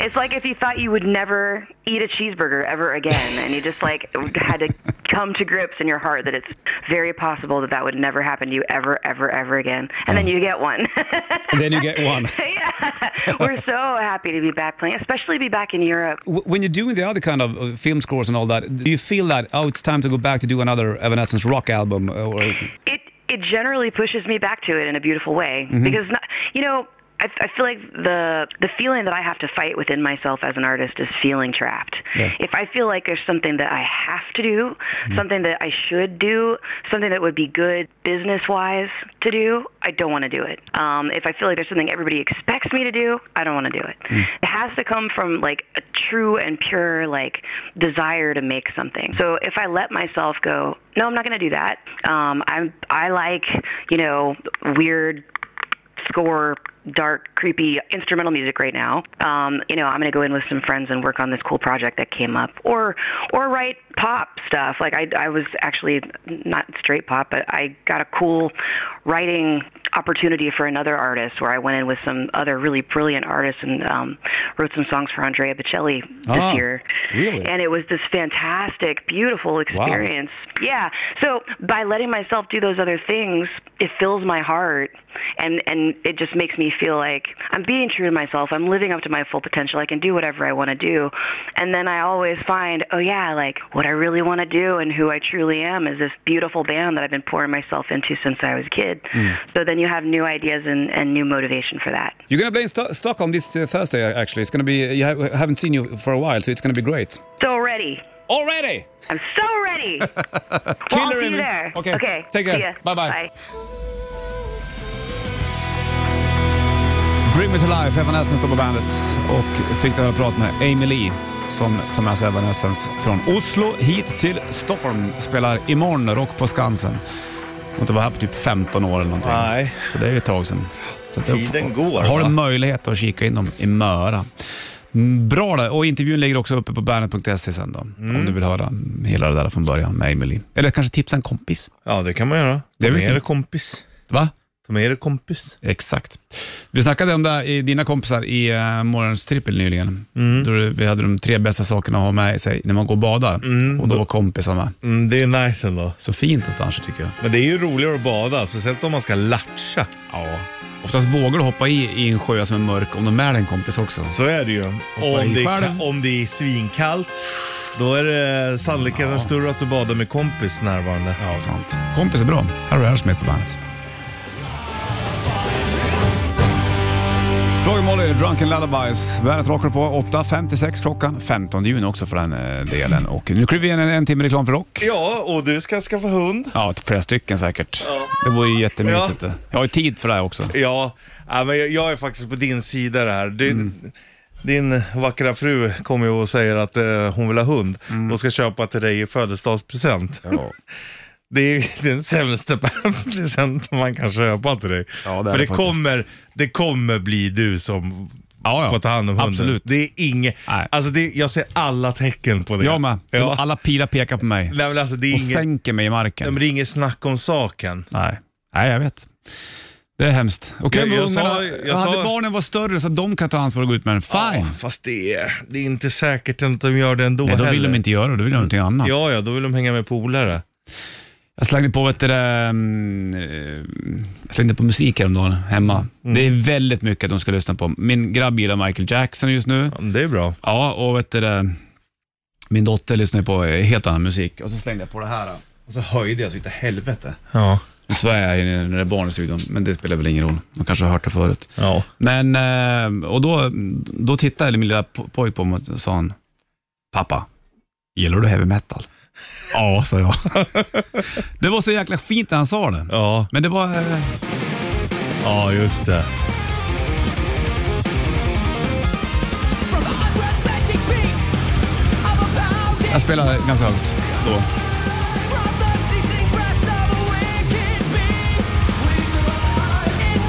Speaker 8: it's like if you thought you would never eat a cheeseburger ever again, and you just like had to come to grips in your heart that it's very possible that that would never happen to you ever, ever, ever again. And then you get one.
Speaker 2: And then you get one.
Speaker 8: yeah. We're so happy to be back playing, especially be back in Europe.
Speaker 2: W- When you're doing the other kind of uh, film scores and all that, do you feel that oh, it's time to go back to do another Evanescence rock album? uh, Or
Speaker 8: it it generally pushes me back to it in a beautiful way because not, you know I, I feel like the the feeling that I have to fight within myself as an artist is feeling trapped.
Speaker 2: Yeah.
Speaker 8: If I feel like there's something that I have to do, something that I should do, something that would be good business wise to do, I don't want to do it. Um, if I feel like there's something everybody expects me to do, I don't want to do it. It has to come from like a true and pure like desire to make something. So if I let myself go, no, I'm not going to do that. Um, I'm I like you know weird score dark creepy instrumental music right now um, you know i'm going to go in with some friends and work on this cool project that came up or or write pop stuff like i i was actually not straight pop but i got a cool writing opportunity for another artist where i went in with some other really brilliant artists and um, wrote some songs for andrea bocelli this
Speaker 2: Ah,
Speaker 8: year
Speaker 2: really?
Speaker 8: and it was this fantastic beautiful experience yeah so by letting myself do those other things it fills my heart and and it just makes me feel like i'm being true to myself i'm living up to my full potential i can do whatever i want to do and then i always find oh yeah like what i really want to do and who i truly am is this beautiful band that i've been pouring myself into since i was a kid
Speaker 2: Hmm.
Speaker 8: so then you have new ideas and and new motivation for that
Speaker 2: you're gonna play in Sto- Stockholm this uh, Thursday. uh, Actually, it's gonna be you ha- haven't seen you for a while, so it's gonna be great.
Speaker 8: so ready
Speaker 2: Already,
Speaker 8: i'm so ready well, i'll see you
Speaker 2: in-
Speaker 8: there
Speaker 2: Okay,
Speaker 8: okay
Speaker 2: Take
Speaker 8: see ya.
Speaker 2: care. Bye bye.
Speaker 8: bye
Speaker 2: Bring Me To Life, Evanescence står på bandet och fick höra prat med Amy Lee som tar med sig Evanescence från Oslo hit till Stockholm. Spelar imorgon rock på Skansen. Hon har inte varit här på typ 15 år eller någonting.
Speaker 3: Nej.
Speaker 2: Så det är ju ett tag sedan. Så att
Speaker 3: Tiden går,
Speaker 2: Har du
Speaker 3: va?
Speaker 2: möjlighet att kika in dem i Möra. Mm, Bra det. Och intervjun ligger också uppe på bandet.se sen då.
Speaker 3: Mm.
Speaker 2: Om du vill höra hela det där från början med Amy Lee. Eller kanske tipsa en kompis.
Speaker 3: Ja, det kan man göra.
Speaker 2: Det
Speaker 3: Ta
Speaker 2: är väl
Speaker 3: med er
Speaker 2: fint.
Speaker 3: kompis.
Speaker 2: Va?
Speaker 3: Ta med er kompis.
Speaker 2: Exakt. Vi snackade om det, här i- dina kompisar i uh, morgons trippel nyligen.
Speaker 3: Mm.
Speaker 2: Då du- vi hade de tre bästa sakerna att ha med sig när man går och badar. Och då var kompisarna med.
Speaker 3: Mm, det är nice ändå.
Speaker 2: Så fint någonstans tycker jag.
Speaker 3: Men det är ju roligare att bada, speciellt om man ska latcha.
Speaker 2: Ja. Oftast vågar du hoppa i, i en sjö som är mörk om du är med en kompis också.
Speaker 3: Så är det ju.
Speaker 2: i
Speaker 3: Om det, är,
Speaker 2: själv.
Speaker 3: ka- om det är svinkallt, då är det sannolikheten större att du badar med kompis närvarande.
Speaker 2: Ja, sant. Kompis är bra. Här har du Aerosmith på bandet. Fråga Molly, Drunken Lullabies. Bandet rockar på 8.56 klockan. 15 juni också för den eh, delen. Och nu kliver vi in en, en timme reklam för rock.
Speaker 3: Ja, och du ska skaffa hund.
Speaker 2: Ja, flera stycken säkert. Det vore ju jättemysigt.
Speaker 3: Ja.
Speaker 2: det. Jag har ju tid för det här också.
Speaker 3: Ja, ja men jag- jag är faktiskt på din sida där. Din, din vackra fru kommer ju och säger att eh, hon vill ha hund och ska köpa till dig i födelsedagspresent. Det är den sämsta presenten man kan köpa till dig.
Speaker 2: Ja, det är
Speaker 3: För
Speaker 2: det
Speaker 3: det
Speaker 2: faktiskt.
Speaker 3: kommer, det kommer bli du som
Speaker 2: Ja, ja.
Speaker 3: får ta hand om hunden.
Speaker 2: Absolut.
Speaker 3: Det är inget,
Speaker 2: Nej.
Speaker 3: alltså det, jag ser alla tecken på det.
Speaker 2: Jag med.
Speaker 3: Ja.
Speaker 2: Alla pilar pekar på mig
Speaker 3: Nej, men alltså, det är
Speaker 2: och
Speaker 3: inget,
Speaker 2: sänker mig i
Speaker 3: nej,
Speaker 2: marken.
Speaker 3: men det är inget snack om saken.
Speaker 2: Nej. Nej, jag vet. Det är hemskt. Okej,
Speaker 3: Jag-
Speaker 2: men
Speaker 3: jag sa-
Speaker 2: ungarna-
Speaker 3: jag
Speaker 2: hade
Speaker 3: sa-
Speaker 2: barnen varit större så att de kan ta ansvar och gå ut med den, fine.
Speaker 3: Ja, fast det är, det är inte säkert att de gör det ändå
Speaker 2: Nej, då vill
Speaker 3: heller.
Speaker 2: de inte göra det, då vill de någonting annat.
Speaker 3: Ja, ja, då vill de hänga med polare.
Speaker 2: Jag slängde på, vet du, det, mm, eh, jag slängde på musik häromdagen hemma.
Speaker 3: Mm.
Speaker 2: Det är väldigt mycket de ska lyssna på. Min grabb gillar Michael Jackson just nu.
Speaker 3: Ja, men Det är bra.
Speaker 2: Ja, och vet du, det, min dotter lyssnar ju på eh, helt annan musik. Och så slängde jag på det här. eh, Och så höjde jag så utav helvete.
Speaker 3: Ja.
Speaker 2: Nu svär jag i- när det är barn i studion, men det spelar väl ingen roll. De kanske har hört det förut.
Speaker 3: Ja.
Speaker 2: Men, eh, och då, då tittade min lilla po- pojk på mig och sa han, pappa, gillar du heavy metal? ja, sa jag. det var så jäkla fint när han sa det.
Speaker 3: Ja.
Speaker 2: Men det var... eh,
Speaker 3: Ja, just det.
Speaker 2: Jag spelade ganska högt då.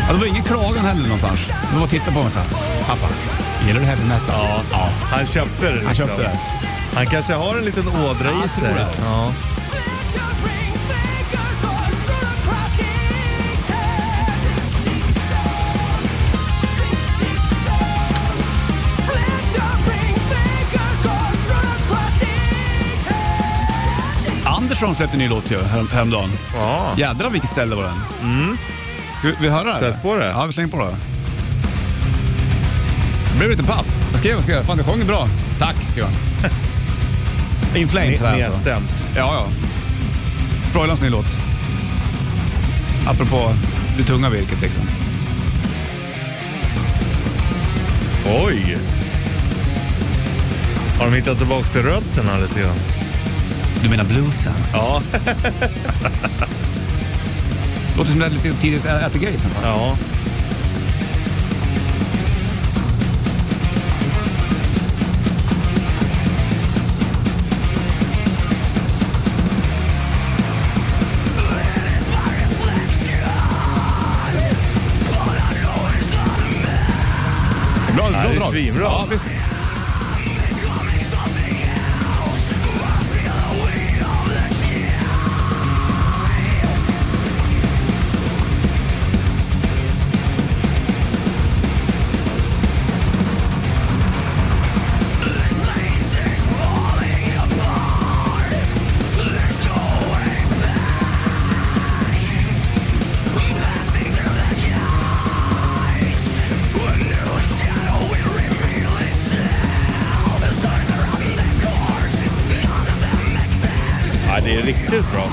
Speaker 2: Ja, det var ingen klagan heller någonstans. De bara tittade på mig så här. Pappa, gillar du heavy metal? Ja. ja.
Speaker 3: Han köpte det. liksom.
Speaker 2: Han köpte det.
Speaker 3: Han kanske har en liten ådra i
Speaker 2: jag tror
Speaker 3: sig.
Speaker 2: det.
Speaker 3: Ja.
Speaker 2: Andersson släppte en ny låt ju härom- häromdagen.
Speaker 3: Ja.
Speaker 2: Jädrar vilket ställe var den. Ska vi, vi höra det?
Speaker 3: Sätt på det.
Speaker 2: Ja, vi slänger på det. Jag blev lite paff. Jag skrev och skrev. Fan, du sjöng bra. Tack, skrev han. In Flames här alltså.
Speaker 3: Nedstämt.
Speaker 2: Ja, ja. Sproilans ny låt. Apropå det tunga virket liksom.
Speaker 3: Oj! Har de hittat tillbaka till rötterna lite grann?
Speaker 2: Du menar bluesen?
Speaker 3: Ja.
Speaker 2: Låter som det är lite tidigt ä- äter grejs. Ja.
Speaker 3: ja.
Speaker 2: Bra, bra
Speaker 3: det är
Speaker 2: drag.
Speaker 3: svinbra.
Speaker 2: Ja, visst.
Speaker 3: ja, det är riktigt bra.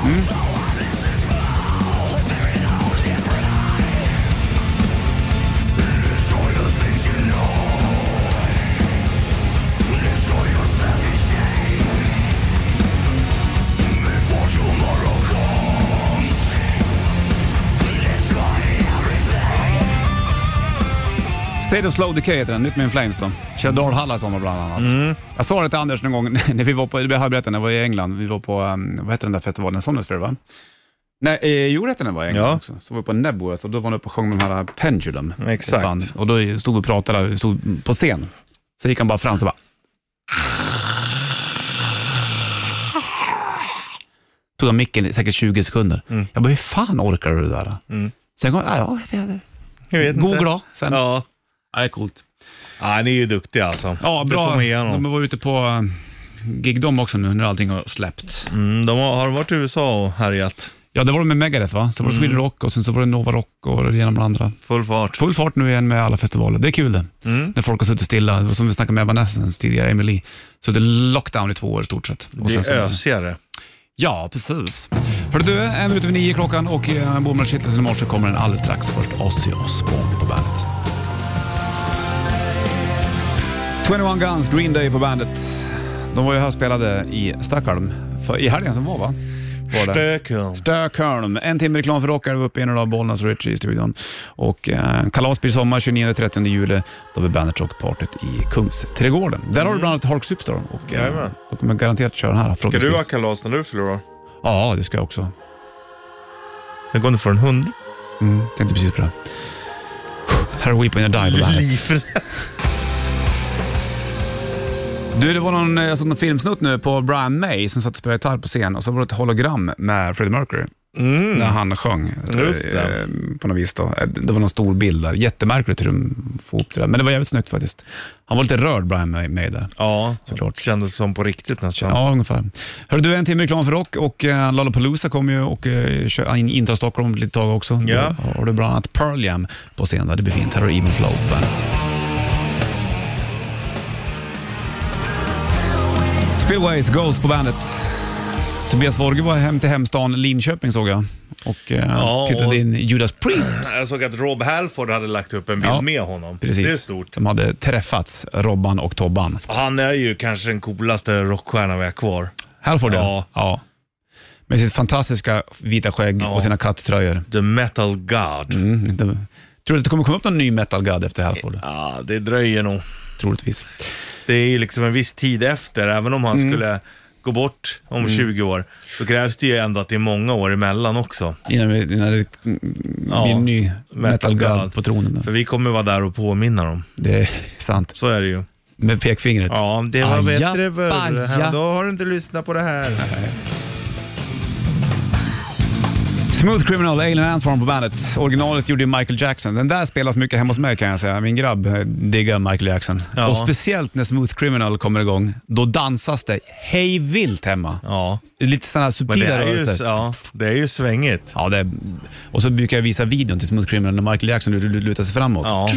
Speaker 2: State of Slow Decay heter den. Nytt med In Flames då. Kör Dalhalla i sommar bland annat. Jag sa det till Anders någon gång när vi var på, det har jag berättat, när jag var i England. Vi var på, um, vad heter den där festivalen? Somnus Fair va? Nej, eh, jo det hette den var i England
Speaker 3: Ja.
Speaker 2: också. Så var vi på Nebworth och då var han uppe och sjöng med de här uh, Pendulum.
Speaker 3: Exakt.
Speaker 2: ett band. Och då stod vi och pratade, vi stod på scen. Så gick han bara fram så bara... Tog han micken i säkert 20 sekunder. Jag bara, hur fan orkar du det där? Sen kom han, ja, jag vet
Speaker 3: Jag vet inte.
Speaker 2: Googla sen. Ja.
Speaker 3: Ja.
Speaker 2: det är coolt.
Speaker 3: ja, han är ju duktig alltså.
Speaker 2: Ja,
Speaker 3: Det får
Speaker 2: bra.
Speaker 3: man ge honom.
Speaker 2: De var ute på eh, gig de också nu när allting har släppt.
Speaker 3: Mm, de har, har de varit i USA och härjat?
Speaker 2: Ja, det var de med Megadeth va? Sen var det
Speaker 3: Mm.
Speaker 2: Sweden Rock och sen så var det Nova Rock och genom det andra.
Speaker 3: Full fart.
Speaker 2: Full fart nu igen med alla festivaler. Det är kul det.
Speaker 3: Mm.
Speaker 2: När folk har suttit stilla. Det var Som vi snackade med Evanescence tidigare, Emily. Så det är lockdown i två år i stort sett. Och
Speaker 3: Det
Speaker 2: sen
Speaker 3: är
Speaker 2: så-
Speaker 3: ösigare.
Speaker 2: Ja, precis. Hörru du, en minut över nio klockan och eh, Bommar Kittlesen i morse kommer den alldeles strax. Först Ozzy Osbourne på bandet. 21 Guns, Green Day på bandet. De var ju här och spelade i Stockholm för, i helgen som var va? Var det?
Speaker 3: Stökel.
Speaker 2: Stockholm. En timme reklam för rockare. Vi var uppe i en av Bollnäs och Richie i studion. Och eh, kalas blir sommar 29-30 juli. Då blir Bandet Rock-partyt i Kungsträdgården. Där har du bland annat Hark Superstar och eh,
Speaker 3: Mm. Jajamän.
Speaker 2: då kommer jag garanterat köra den här.
Speaker 3: Ska du
Speaker 2: förhoppningsvis.
Speaker 3: ha kalas när du förlorar?
Speaker 2: Ja, det ska jag också.
Speaker 3: Jag går inte för en hund.
Speaker 2: Mm, tänkte precis på det. Här är Weep When You Die på bandet. Du, det var någon, eh, jag såg någon filmsnutt nu på Brian May som satt och spelade gitarr på scen och så var det ett hologram med Freddie Mercury när han sjöng.
Speaker 3: Mm. Just det.
Speaker 2: Eh, På något vis då. Eh, Det var någon stor bild där. Jättemärkligt hur de får ihop det där. Men det var jävligt snyggt faktiskt. Han var lite rörd, Brian May, May där.
Speaker 3: Ja,
Speaker 2: Såklart.
Speaker 3: såklart. Kändes som på riktigt nästan.
Speaker 2: Ja, ungefär. Hörru du, en timme reklam för rock och eh, Lollapalooza kommer ju och eh, kö- in, intar Stockholm om ett litet tag också.
Speaker 3: Ja.
Speaker 2: Då har du bland annat Pearl Jam på scen där. Det blir fint. Här har du Even Flow på bandet. Spillways Ghost på bandet. Tobias Vorge var hem till hemstaden Linköping såg jag och eh,
Speaker 3: Ja,
Speaker 2: tittade
Speaker 3: och-
Speaker 2: in Judas Priest.
Speaker 3: Jag såg att Rob Halford hade lagt upp en bild
Speaker 2: Ja,
Speaker 3: med honom.
Speaker 2: Precis.
Speaker 3: Det är stort.
Speaker 2: De hade träffats, Robban och Tobban.
Speaker 3: Han är ju kanske den coolaste rockstjärnan vi har kvar.
Speaker 2: Halford ja.
Speaker 3: Ja.
Speaker 2: ja. Med sitt fantastiska vita skägg och sina katttröjor.
Speaker 3: The metal god.
Speaker 2: Mm, inte... Tror du att det kommer komma upp någon ny metal god efter Halford?
Speaker 3: Ja, det dröjer nog.
Speaker 2: Troligtvis.
Speaker 3: Det är ju liksom en viss tid efter, även om han
Speaker 2: Mm.
Speaker 3: skulle gå bort om 20 år, så krävs det ju ändå att det är många år emellan också.
Speaker 2: Innan, vi, innan det mm,
Speaker 3: Ja,
Speaker 2: blir en ny metal
Speaker 3: metal
Speaker 2: god
Speaker 3: god.
Speaker 2: på tronen.
Speaker 3: För vi kommer vara där och påminna dem.
Speaker 2: Det är sant.
Speaker 3: Så är det ju.
Speaker 2: Med pekfingret.
Speaker 3: Ja, det var
Speaker 2: Aja,
Speaker 3: bättre
Speaker 2: baja.
Speaker 3: förr. Då har du inte lyssnat på det här.
Speaker 2: Smooth Criminal, Alien Ant Farm på bandet. Originalet gjorde ju Michael Jackson. Den där spelas mycket hemma hos mig kan jag säga. Min grabb eh, diggar Michael Jackson.
Speaker 3: Ja.
Speaker 2: Och speciellt när Smooth Criminal kommer igång, då dansas det hej vilt hemma.
Speaker 3: Ja,
Speaker 2: Lite sådana här
Speaker 3: men det
Speaker 2: subtila
Speaker 3: är ju,
Speaker 2: rörelser.
Speaker 3: ja, det är ju svängigt.
Speaker 2: Ja, det är... Och så brukar jag visa videon till Smooth Criminal när Michael Jackson l- l- lutar sig framåt.
Speaker 3: Ja,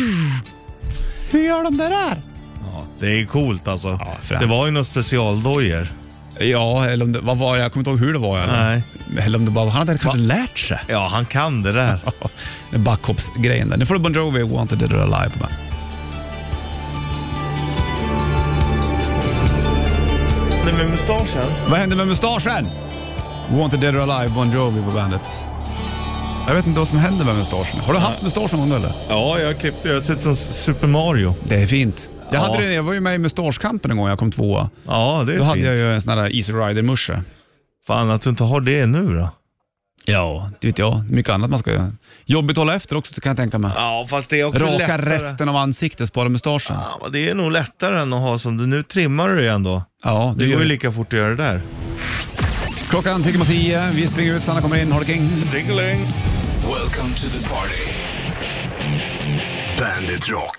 Speaker 2: Hur gör de det där?
Speaker 3: det är coolt alltså.
Speaker 2: fränt.
Speaker 3: det var ju några specialdojor.
Speaker 2: Ja, eller om det, vad var jag? Jag kommer inte ihåg hur det var. Eller,
Speaker 3: Nej.
Speaker 2: eller om det bara, han hade kanske lärt sig.
Speaker 3: Ja, han kan det där.
Speaker 2: Den backhoppsgrejen där. Nu får du Bon Jovi, Wanted Dead or Alive på bandet.
Speaker 3: Nej, med mustaschen.
Speaker 2: Vad hände med mustaschen? Wanted Dead or Alive, Bon Jovi på bandet. Jag vet inte vad som händer med mustaschen. Har du haft mustasch någon gång eller?
Speaker 3: Ja, jag klippte. Jag ser ut som Super Mario.
Speaker 2: Det är fint. Jag,
Speaker 3: Ja.
Speaker 2: hade det, jag var ju med i mustaschkampen en gång, jag kom tvåa.
Speaker 3: Ja, det är
Speaker 2: Då hade
Speaker 3: fint.
Speaker 2: jag ju en sån här Easy Rider-musche.
Speaker 3: Fan att du inte har det nu då.
Speaker 2: Ja, det vet jag. Mycket annat man ska göra. Jobbigt att hålla efter också kan jag tänka mig.
Speaker 3: Ja, fast det är också
Speaker 2: Raka
Speaker 3: lättare.
Speaker 2: resten av ansiktet, spara mustaschen.
Speaker 3: Ja, men det är nog lättare än att ha som du. Nu trimmar du ju ändå.
Speaker 2: Ja,
Speaker 3: Det
Speaker 2: du gör
Speaker 3: går ju liksom.
Speaker 2: det.
Speaker 3: lika fort att göra det där.
Speaker 2: Klockan tickar mot tio, vi springer ut, Sanna kommer in, har det king.
Speaker 3: Dingeling.
Speaker 1: Welcome to the party. Bandit Rock.